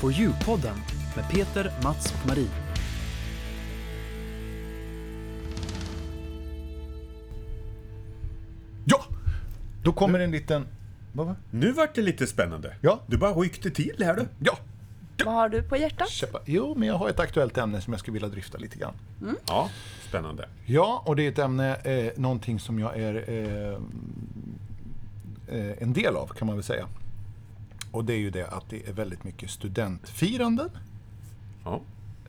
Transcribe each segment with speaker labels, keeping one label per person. Speaker 1: For You-podden med Peter, Mats och Marie.
Speaker 2: Ja! Då kommer en liten... Vad var
Speaker 3: Nu vart det lite spännande.
Speaker 2: Ja. Mm.
Speaker 3: Du bara ryckte till här du.
Speaker 2: Ja!
Speaker 4: Vad har du på hjärtat?
Speaker 2: Köpa. Jo, men jag har ett aktuellt ämne som jag skulle vilja drifta lite grann.
Speaker 3: Ja, spännande.
Speaker 2: Ja, och det är ett ämne, eh, någonting som jag är eh, eh, en del av kan man väl säga. Och det är ju det att det är väldigt mycket studentfiranden
Speaker 3: Ja.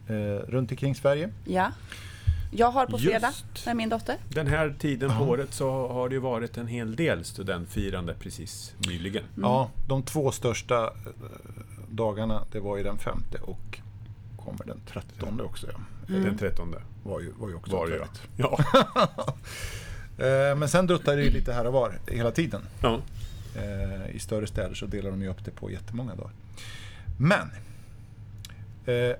Speaker 2: eh, runt omkring Sverige.
Speaker 3: Mm.
Speaker 4: Ja. Jag har på
Speaker 3: Just.
Speaker 4: fredag med min dotter.
Speaker 3: Den här tiden på året så har det ju varit en hel del studentfirande precis nyligen.
Speaker 2: Ja, de två största eh, dagarna, det var ju den femte och kommer den trettonde också. Ja.
Speaker 3: Den 13
Speaker 2: Var ju, var ju också
Speaker 3: var det ja.
Speaker 2: trevligt.
Speaker 3: Ja.
Speaker 2: Eh, Men sen druttar det ju lite här och var hela tiden.
Speaker 3: ja.
Speaker 2: Eh, I större städer så delar de ju upp det på jättemånga dagar. Men. Eh,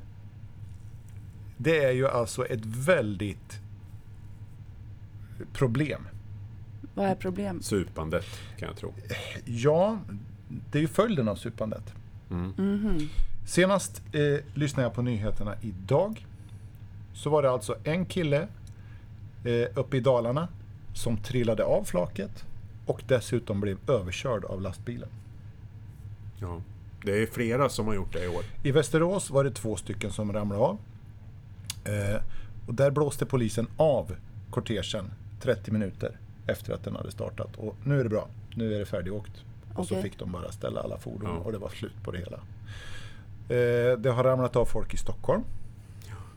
Speaker 2: det är ju alltså ett väldigt problem.
Speaker 4: Vad är problemet?
Speaker 3: Supandet kan jag tro.
Speaker 2: Ja, det är ju följden av supandet. Senast eh, lyssnade jag på nyheterna idag. Så var det alltså en kille eh, uppe i Dalarna som trillade av flaket och dessutom blev överkörd av lastbilen.
Speaker 3: Ja. Det är flera som har gjort det i år.
Speaker 2: I Västerås var det två stycken som ramlade av. Eh, och där blåste polisen av kortegen 30 minuter efter att den hade startat. Och nu är det bra, nu är det färdigåkt. Och så
Speaker 4: Okej.
Speaker 2: fick de bara ställa alla fordon
Speaker 3: Ja.
Speaker 2: och det var slut på det hela. Eh, det har ramlat av folk i Stockholm.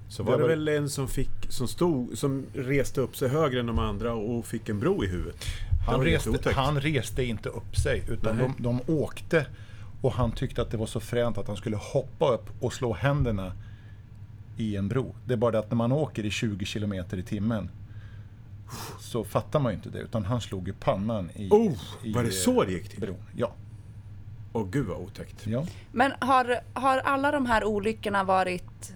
Speaker 3: Så
Speaker 2: Det
Speaker 3: var det,
Speaker 2: var-
Speaker 3: väl en som fick, som stod, som reste upp sig högre än de andra och fick en bro i huvudet.
Speaker 2: Han
Speaker 3: Det var
Speaker 2: reste,
Speaker 3: jätteotäckt.
Speaker 2: han reste inte upp sig utan
Speaker 3: Nej.
Speaker 2: de, de åkte och han tyckte att det var så fränt att han skulle hoppa upp och slå händerna i en bro. Det är bara det att när man åker i 20 km i timmen så fattar man ju inte det utan han slog ju pannan i,
Speaker 3: Oh,
Speaker 2: i
Speaker 3: var det
Speaker 2: eh,
Speaker 3: så det gick till?
Speaker 2: bron. Ja,
Speaker 3: Åh gud vad otäckt.
Speaker 2: ja.
Speaker 4: Men har, har alla de här olyckorna varit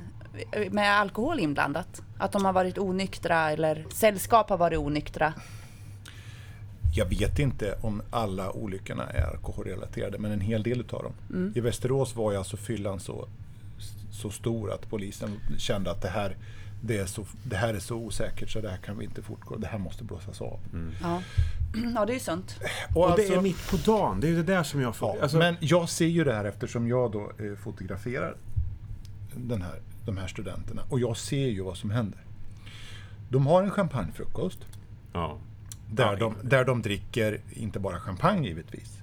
Speaker 4: eh, med alkohol inblandat? Att de har varit onyktra eller sällskap har varit onyktra?
Speaker 2: Jag vet inte om alla olyckorna är alkoholrelaterade men en hel del utav dem. I Västerås var ju alltså fyllan så, så stor att polisen kände att det här, det, är så, det här är så osäkert så det här kan vi inte fortgå. Det här måste blåsas av.
Speaker 3: Mm.
Speaker 4: Ja, ja det är ju sunt.
Speaker 2: Och
Speaker 3: Och det
Speaker 2: alltså-
Speaker 3: är mitt på dagen, det är ju det där som jag får...
Speaker 2: Ja,
Speaker 3: alltså,
Speaker 2: men jag ser ju det här eftersom jag då eh, fotograferar den här, de här studenterna och jag ser ju vad som händer. De har en champagnefrukost.
Speaker 3: ja.
Speaker 2: Där,
Speaker 3: Ja,
Speaker 2: de, där de dricker, inte bara champagne givetvis,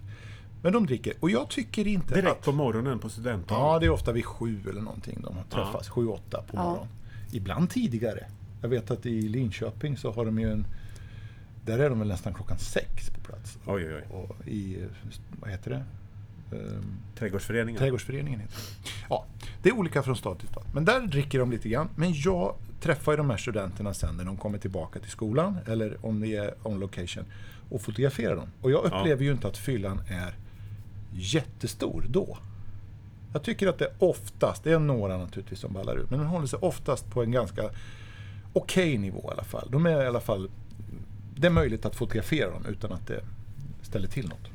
Speaker 2: men de dricker. Och jag tycker inte
Speaker 3: Direkt
Speaker 2: att...
Speaker 3: på morgonen på studentdagen.
Speaker 2: Ja, det är ofta vid sju eller någonting de har träffats. Sju, åtta på
Speaker 4: Ja.
Speaker 2: morgonen. Ibland tidigare. Jag vet att i Linköping så har de ju en... Där är de väl nästan klockan sex på plats.
Speaker 3: Oj, oj, oj.
Speaker 2: Och i, eh, vad heter det? Ehm,
Speaker 3: Trädgårdsföreningen.
Speaker 2: Trädgårdsföreningen heter det. Ja, det är olika från stad till stad. Men där dricker de lite grann. Men jag träffar ju de här studenterna sen när de kommer tillbaka till skolan eller om det är on location och fotograferar dem. Och jag upplever ju inte att fyllan är jättestor då. Jag tycker att det oftast, det är några naturligtvis som ballar ut, men den håller sig oftast på en ganska okej nivå i alla fall. De är i alla fall, det är möjligt att fotografera dem utan att det ställer till något.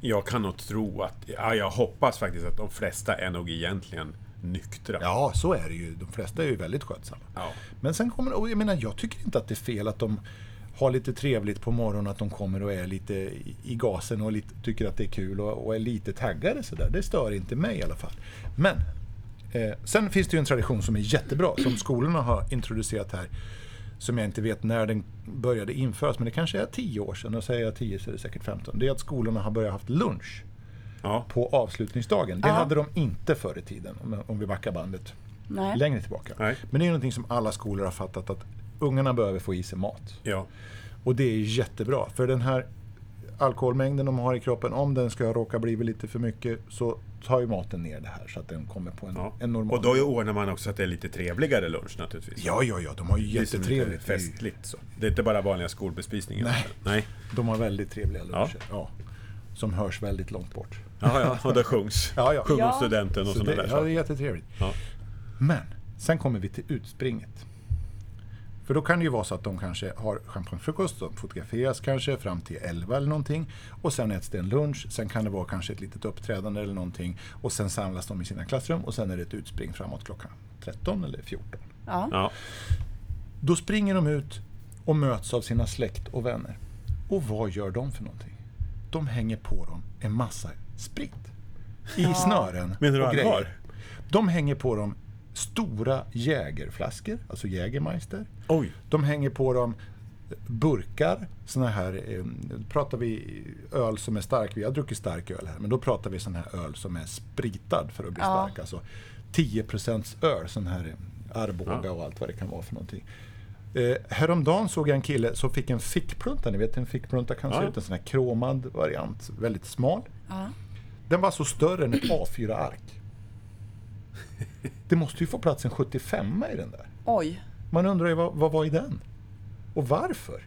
Speaker 3: Jag kan nog tro att, ja, jag hoppas faktiskt att de flesta är nog egentligen nyktra.
Speaker 2: Ja, så är det ju. De flesta är ju väldigt skötsamma.
Speaker 3: Ja.
Speaker 2: Men sen kommer och jag menar, jag tycker inte att det är fel att de har lite trevligt på morgonen, att de kommer och är lite i- i gasen och lite, tycker att det är kul och, och är lite taggade sådär. Det stör inte mig i alla fall. Men eh, sen finns det ju en tradition som är jättebra, som skolorna har introducerat här, som jag inte vet när den började införas, men det kanske är 10 år sedan, och säger jag 10 så är det säkert 15. Det är att skolorna har börjat haft lunch
Speaker 3: Ja.
Speaker 2: på avslutningsdagen. Det hade de inte förr i tiden, om, om vi backar bandet
Speaker 4: Nej.
Speaker 2: längre tillbaka.
Speaker 3: Nej.
Speaker 2: Men det är någonting som alla skolor har fattat att ungarna behöver få i sig mat.
Speaker 3: ja.
Speaker 2: Och det är jättebra, för den här alkoholmängden de har i kroppen, om den ska råka bli lite för mycket så tar ju maten ner det här så att den kommer på en,
Speaker 3: ja.
Speaker 2: en normal...
Speaker 3: Och då ordnar man också att det är lite trevligare lunch naturligtvis.
Speaker 2: Ja, ja, ja, de har ju
Speaker 3: Det är som
Speaker 2: jättetrevligt.
Speaker 3: inte Festligt så. Det är inte bara vanliga skolbespisningar. Nej. Nej.
Speaker 2: De har väldigt trevliga
Speaker 3: Ja.
Speaker 2: luncher. Ja. Som hörs väldigt långt bort.
Speaker 3: Ja, ja. Och det sjungs.
Speaker 2: Ja, ja.
Speaker 3: Sjunger
Speaker 4: Ja.
Speaker 3: studenten och
Speaker 2: Så
Speaker 3: sådana
Speaker 2: det,
Speaker 3: där
Speaker 2: ja, det är
Speaker 3: saker.
Speaker 2: jättetrevligt.
Speaker 3: Ja.
Speaker 2: Men sen kommer vi till utspringet. För då kan det ju vara så att de kanske har champagnefrukost, de fotograferas kanske fram till 11 eller någonting. Och sen äts det en lunch, sen kan det vara kanske ett litet uppträdande eller någonting. Och sen samlas de i sina klassrum och sen är det ett utspring framåt klockan 13 eller 14.
Speaker 4: Ja.
Speaker 3: Ja.
Speaker 2: Då springer de ut och möts av sina släkt och vänner. Och vad gör de för någonting? De hänger på dem en massa sprit. I snören
Speaker 3: Menar du
Speaker 2: och
Speaker 3: allvar?
Speaker 2: grejer. De hänger på dem stora jägerflaskor, alltså Jägermeister.
Speaker 3: Oj.
Speaker 2: De hänger på dem burkar, såna här, eh, då pratar vi öl som är stark, vi har druckit stark öl här, men då pratar vi sån här öl som är spritad för att bli
Speaker 4: Ja.
Speaker 2: stark. Alltså 10% öl, sån här eh, Arboga och allt vad det kan vara för någonting. Eh, häromdagen såg jag en kille som fick en fickplunta, ni vet hur en fickplunta kan se
Speaker 3: Ja.
Speaker 2: ut, en sån här kromad variant, väldigt smal.
Speaker 4: Ja.
Speaker 2: Den var så större än ett A4-ark. Det måste ju få plats en 75 i den där.
Speaker 4: Oj.
Speaker 2: Man undrar ju vad, vad var i den? Och varför?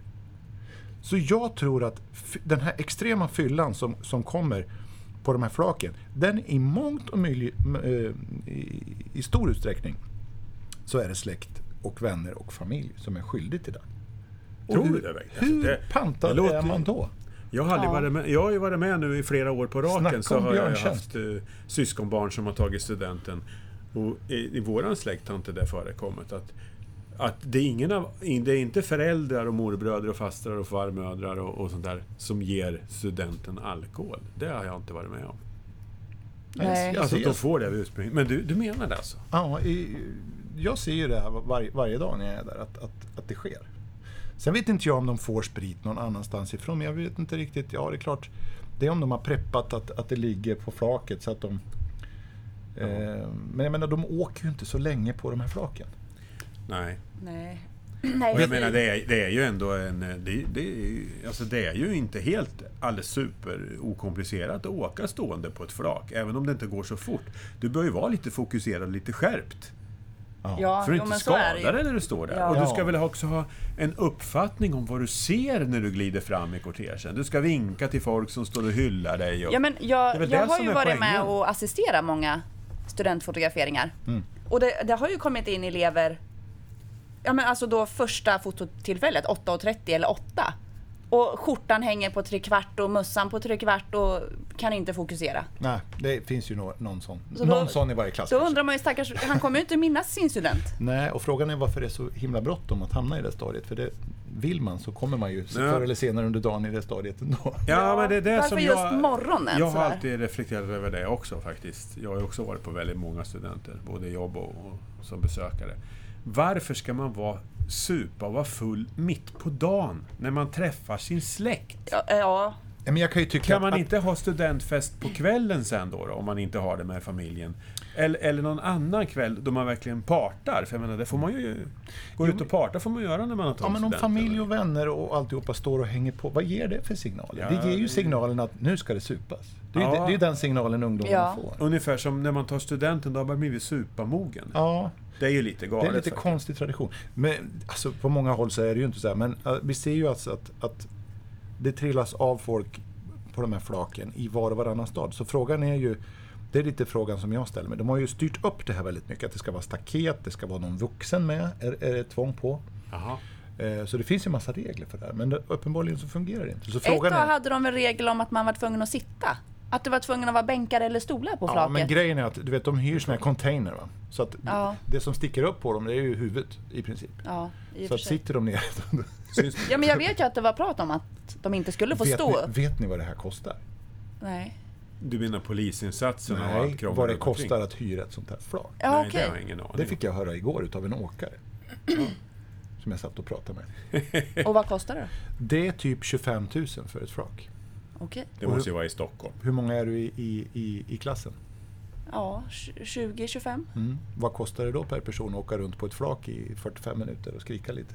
Speaker 2: Så jag tror att f- den här extrema fyllan som, som kommer på de här flaken, den i mångt och mycket, i, i stor utsträckning, så är det släkt och vänner och familj som är skyldig till det. Och
Speaker 3: Tror
Speaker 2: hur,
Speaker 3: du det, Bengt? Alltså,
Speaker 2: Hur
Speaker 3: det-
Speaker 2: pantad
Speaker 3: det låter-
Speaker 2: är man då?
Speaker 3: Jag har, aldrig varit med, jag har ju varit med nu i flera år på raken
Speaker 2: Snacka
Speaker 3: så
Speaker 2: om
Speaker 3: har jag ju
Speaker 2: björntjänst.
Speaker 3: haft uh, syskonbarn som har tagit studenten. Och i, I våran släkt har inte det förekommit. Att, att det, är ingen av, in- det är inte föräldrar och morbröder och fastrar och farmödrar och, och sånt där som ger studenten alkohol. Det har jag inte varit med om.
Speaker 4: Nej.
Speaker 2: Jag
Speaker 3: Alltså att
Speaker 2: ser-
Speaker 3: de får det av ursprung. Men du, du menar det alltså?
Speaker 2: Ja, i, jag ser ju det här varje, varje dag när jag är där, att, att, att det sker. Sen vet inte jag om de får sprit någon annanstans ifrån, men jag vet inte riktigt. Ja, det är klart, det är om de har preppat att, att det ligger på flaket så att de... Eh, men jag menar, de åker ju inte så länge på de här flaken.
Speaker 3: Nej.
Speaker 4: Nej. Nej.
Speaker 3: Och jag menar, det är, det är ju ändå en... eh, Det, det, är ju- alltså det är ju inte helt alldeles super okomplicerat att åka stående på ett flak, även om det inte går så fort. Du bör ju vara lite fokuserad och lite skärpt.
Speaker 4: ja,
Speaker 3: För att
Speaker 4: jo,
Speaker 3: inte
Speaker 4: men så är
Speaker 3: skada
Speaker 4: det
Speaker 3: dig
Speaker 4: ju.
Speaker 3: när du står där.
Speaker 4: Ja.
Speaker 3: Och du ska
Speaker 2: Ja.
Speaker 3: väl också ha en uppfattning om vad du ser när du glider fram i kortegen. Du ska vinka till folk som står och hyllar dig. Och,
Speaker 4: Ja, men
Speaker 3: är
Speaker 4: jag
Speaker 3: väl
Speaker 4: jag
Speaker 3: det
Speaker 4: har
Speaker 3: som
Speaker 4: ju
Speaker 3: är
Speaker 4: varit med
Speaker 3: poängen.
Speaker 4: och assisterat många studentfotograferingar. Och det, det har ju kommit in elever, ja men alltså då första fototillfället, 8.30 eller 8. Och skjortan hänger på tre kvart och mössan på tre kvart och kan inte fokusera.
Speaker 2: Nej, det finns ju nå- någon sån.
Speaker 4: Så då-
Speaker 2: någon sån i varje klass.
Speaker 4: Då
Speaker 2: kanske.
Speaker 4: undrar man ju stackars, han kommer ju inte minnas sin student.
Speaker 2: Nej, och frågan är varför det är så himla bråttom att hamna i det stadiet. För det, vill man så kommer man ju förr eller senare under dagen i det stadiet ändå.
Speaker 3: Ja,
Speaker 4: Ja,
Speaker 3: men det är det
Speaker 4: varför
Speaker 3: som
Speaker 4: just
Speaker 3: jag,
Speaker 4: morgonen
Speaker 3: Jag har
Speaker 4: sådär?
Speaker 3: alltid reflekterat över det också faktiskt. Jag har ju också varit på väldigt många studenter, både jobb och, och som besökare. Varför ska man vara supa och vara full mitt på dagen när man träffar sin släkt?
Speaker 4: Ja, ja.
Speaker 2: Ja, men jag kan ju tycka
Speaker 3: Kan man
Speaker 2: att-
Speaker 3: inte ha studentfest på kvällen sen då, då om man inte har det med familjen? Eller, eller någon annan kväll då man verkligen partar? För jag menar, det får man ju... Gå ut och parta får man göra när man har tagit
Speaker 2: Ja, men om
Speaker 3: studenten.
Speaker 2: familj och vänner och alltihopa står och hänger på, vad ger det för signaler?
Speaker 3: Ja,
Speaker 2: det ger ju
Speaker 3: det-
Speaker 2: signalen att nu ska det supas. Det är, ju det,
Speaker 3: Ja.
Speaker 2: det är ju den signalen ungdomen
Speaker 4: Ja.
Speaker 2: får.
Speaker 3: Ungefär som när man tar studenten, då har man blivit supamogen.
Speaker 2: Ja,
Speaker 3: Det är ju lite galet.
Speaker 2: det är lite
Speaker 3: faktiskt.
Speaker 2: konstig tradition. Men alltså, på många håll så är det ju inte så här, men eh, vi ser ju alltså att, att det trillas av folk på de här flaken i var och varannan stad. Så frågan är ju, det är lite frågan som jag ställer mig. De har ju styrt upp det här väldigt mycket, att det ska vara staket, det ska vara någon vuxen med, är, är det tvång på.
Speaker 3: Jaha.
Speaker 2: Eh, Så det finns ju massa regler för det här, men det, uppenbarligen så fungerar det inte. Så
Speaker 4: Ett tag
Speaker 2: frågan är,
Speaker 4: hade de en regel om att man var tvungen att sitta. Att det var tvungen att vara bänkar eller stolar på
Speaker 2: Ja, men
Speaker 4: flaket.
Speaker 2: grejen är att du vet, de hyr såna här container. Va? Så att
Speaker 4: Ja.
Speaker 2: det som sticker upp på dem, det är ju huvudet i princip.
Speaker 4: ja, i och
Speaker 2: Så
Speaker 4: för
Speaker 2: att
Speaker 4: sig.
Speaker 2: sitter de ner...
Speaker 3: Syns det?
Speaker 4: Ja, men jag vet ju att det var prat om att de inte skulle få
Speaker 2: vet,
Speaker 4: stå
Speaker 2: ni,
Speaker 4: upp.
Speaker 2: vet ni vad det här kostar?
Speaker 4: Nej.
Speaker 3: Du menar polisinsatserna och allt krångel
Speaker 2: vad det
Speaker 3: runt omkring?
Speaker 2: kostar att hyra ett sånt här flak.
Speaker 4: Ja,
Speaker 3: Nej, det
Speaker 4: okej.
Speaker 3: har jag ingen aning
Speaker 2: Det
Speaker 3: om.
Speaker 2: fick jag höra igår utav en åkare. Som jag satt och pratade med.
Speaker 4: Och vad kostar det då?
Speaker 2: Det är typ 25 000 för ett flak.
Speaker 4: Okej.
Speaker 3: Det måste ju vara i Stockholm.
Speaker 2: Hur många är du i, i, i, i klassen?
Speaker 4: Ja, 20-25.
Speaker 2: Mm. Vad kostar det då per person att åka runt på ett flak i 45 minuter och skrika lite?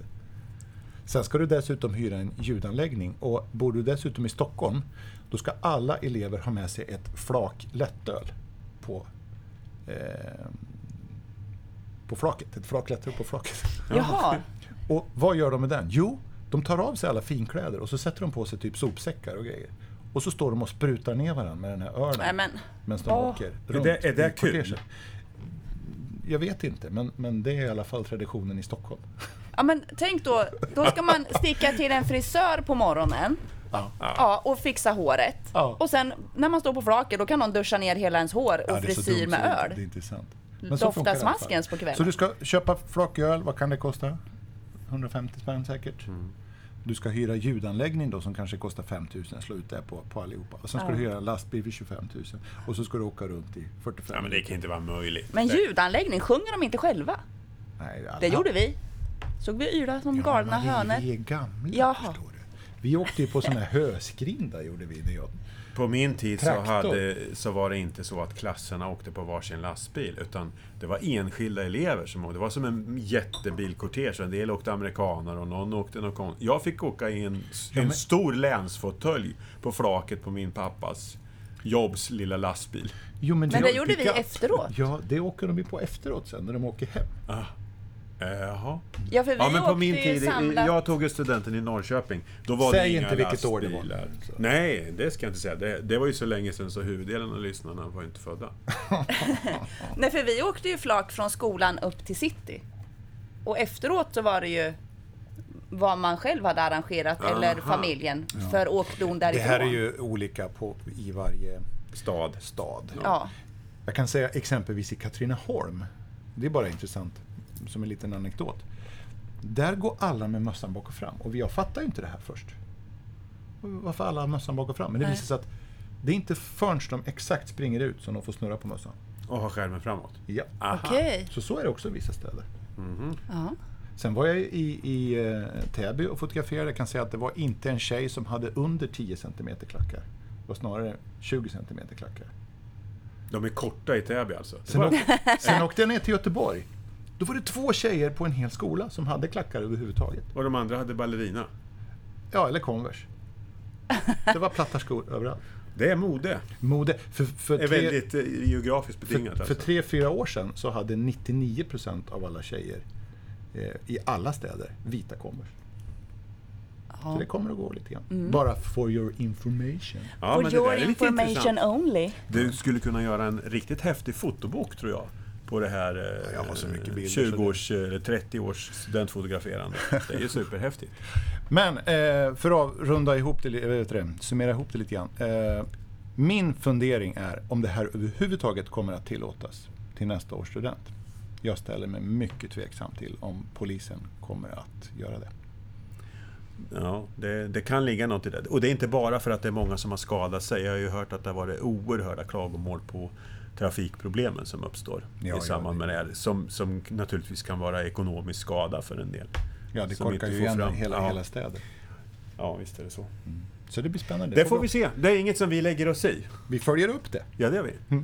Speaker 2: Sen ska du dessutom hyra en ljudanläggning och bor du dessutom i Stockholm då ska alla elever ha med sig ett flak lättöl på, eh, på flaket. Ett flak lättöl på flaket.
Speaker 4: Jaha.
Speaker 2: Och vad gör de med den? Jo, de tar av sig alla finkläder och så sätter de på sig typ sopsäckar och grejer. Och så står de och sprutar ner varandra med den här ölen.
Speaker 4: Nej, men.
Speaker 2: Medan de
Speaker 4: Åh.
Speaker 2: åker
Speaker 3: Är
Speaker 2: runt.
Speaker 3: det- är det
Speaker 2: i kortegen.
Speaker 3: kul?
Speaker 2: Jag vet inte, men, men det är i alla fall traditionen i Stockholm.
Speaker 4: Ja, men tänk då, då ska man sticka till en frisör på morgonen
Speaker 2: Ja.
Speaker 4: ja, och fixa håret.
Speaker 2: Ja.
Speaker 4: Och sen när man står på flaket, då kan någon duscha ner hela ens hår och
Speaker 2: Ja, det är så
Speaker 4: frisyr
Speaker 2: dumt så det-
Speaker 4: med
Speaker 2: Det är
Speaker 4: öl.
Speaker 2: inte sant.
Speaker 4: Doftar
Speaker 2: funkar det i alla fall.
Speaker 4: smaskens på kvällen.
Speaker 2: Så du ska köpa flaköl, vad kan det kosta? 150 spänn säkert.
Speaker 3: Mm.
Speaker 2: Du ska hyra ljudanläggning då som kanske kostar 5 000, slå ut det på, på allihopa. Och sen ska
Speaker 4: Ja.
Speaker 2: du hyra en lastbil för 25 000 och så ska du åka runt i 45
Speaker 3: Ja, men det kan inte vara möjligt.
Speaker 4: Men
Speaker 3: Det-
Speaker 4: ljudanläggning, sjunger de inte själva?
Speaker 2: Nej, alla-
Speaker 4: Det gjorde vi. Såg vi yra som galna
Speaker 2: ja, men
Speaker 4: hönor.
Speaker 2: Vi är gamla,
Speaker 4: Jaha.
Speaker 2: förstår du. Vi åkte ju på sådana här höskrinda gjorde vi. När jag...
Speaker 3: På min tid så,
Speaker 2: Traktor.
Speaker 3: hade, så var det inte så att klasserna åkte på varsin lastbil, utan det var enskilda elever som Det var som en jättebilkortege. En del åkte amerikaner och någon åkte någon kon- Jag fick åka i en, en stor länsfåtölj på flaket på min pappas jobbs lilla lastbil.
Speaker 2: Jo, men
Speaker 4: Men det gjorde vi
Speaker 2: pickup.
Speaker 4: efteråt.
Speaker 2: Ja, det åker de ju på efteråt sen när de åker hem.
Speaker 3: Eh, Jaha.
Speaker 4: Ja, för vi
Speaker 3: Ja, men på
Speaker 4: åkte
Speaker 3: min
Speaker 4: ju
Speaker 3: tid,
Speaker 4: samlat.
Speaker 3: jag tog ju studenten i Norrköping. Då var det
Speaker 2: Säg
Speaker 3: inga
Speaker 2: inte vilket år det var.
Speaker 3: lastbilar.
Speaker 2: Så.
Speaker 3: Nej, det ska jag inte säga. Det, det var ju så länge sedan så huvuddelen av lyssnarna var inte födda.
Speaker 4: Nej, för vi åkte ju flak från skolan upp till city. Och efteråt så var det ju vad man själv hade arrangerat eller
Speaker 3: Aha.
Speaker 4: familjen för åkdon
Speaker 2: Det
Speaker 4: därifrån.
Speaker 2: här är ju olika på, i varje
Speaker 3: Stad.
Speaker 2: stad.
Speaker 4: Ja.
Speaker 2: Jag kan säga exempelvis i Katrineholm. Det är bara intressant som en liten anekdot. Där går alla med mössan bak och fram och jag fattar ju inte det här först. Varför alla har mössan bak och fram? Men det
Speaker 4: Nej.
Speaker 2: visar sig att det är inte förrän de exakt springer ut som de får snurra på mössan.
Speaker 3: Och ha skärmen framåt.
Speaker 2: Ja.
Speaker 3: Aha.
Speaker 4: Okej.
Speaker 2: Så så är det också i vissa städer.
Speaker 3: Mm-hmm.
Speaker 4: Ja.
Speaker 2: Sen var jag i, i eh, Täby och fotograferade. Jag kan säga att det var inte en tjej som hade under 10 cm klackar. Det var snarare 20 cm klackar.
Speaker 3: De är korta i Täby alltså. Det
Speaker 2: Sen,
Speaker 3: var-
Speaker 2: åkte, sen åkte jag ner till Göteborg. Då var det två tjejer på en hel skola som hade klackar överhuvudtaget.
Speaker 3: Och de andra hade ballerina.
Speaker 2: Ja, eller Converse. Det var platta skor överallt.
Speaker 3: Det är mode.
Speaker 2: Mode. För, för,
Speaker 3: Det är
Speaker 2: tre,
Speaker 3: väldigt eh, geografiskt betingat
Speaker 2: för, för
Speaker 3: alltså.
Speaker 2: tre, fyra år sedan så hade 99% av alla tjejer eh, i alla städer vita Converse. Så det kommer att gå lite grann. Bara for your information.
Speaker 3: Ja,
Speaker 4: For
Speaker 3: men det där
Speaker 4: your
Speaker 3: är lite
Speaker 4: information
Speaker 3: intressant.
Speaker 4: only.
Speaker 3: Du skulle kunna göra en riktigt häftig fotobok tror jag. På det här eh,
Speaker 2: jag har så mycket bilder, så det-
Speaker 3: 20-års eller 30-års studentfotograferande. Det är ju superhäftigt.
Speaker 2: Men eh, för att avrunda ihop det, li- eller vet du det, summera ihop det lite grann. Eh, min fundering är om det här överhuvudtaget kommer att tillåtas till nästa års student. Jag ställer mig mycket tveksam till om polisen kommer att göra det.
Speaker 3: Ja, det, det kan ligga något i det. Och det är inte bara för att det är många som har skadat sig. Jag har ju hört att det har varit oerhörda klagomål på trafikproblemen som uppstår
Speaker 2: Ja,
Speaker 3: i samband
Speaker 2: ja,
Speaker 3: med det här. Som, som naturligtvis kan vara ekonomisk skada för en del.
Speaker 2: Ja, det
Speaker 3: Som
Speaker 2: korkar
Speaker 3: inte
Speaker 2: ju
Speaker 3: får
Speaker 2: igen
Speaker 3: fram-
Speaker 2: hela,
Speaker 3: ja.
Speaker 2: hela städer.
Speaker 3: Ja, visst är det så.
Speaker 2: Så det blir spännande.
Speaker 3: Det
Speaker 2: går
Speaker 3: får
Speaker 2: bra.
Speaker 3: vi se. Det är inget som vi lägger oss i.
Speaker 2: vi följer upp det.
Speaker 3: Ja, det gör vi.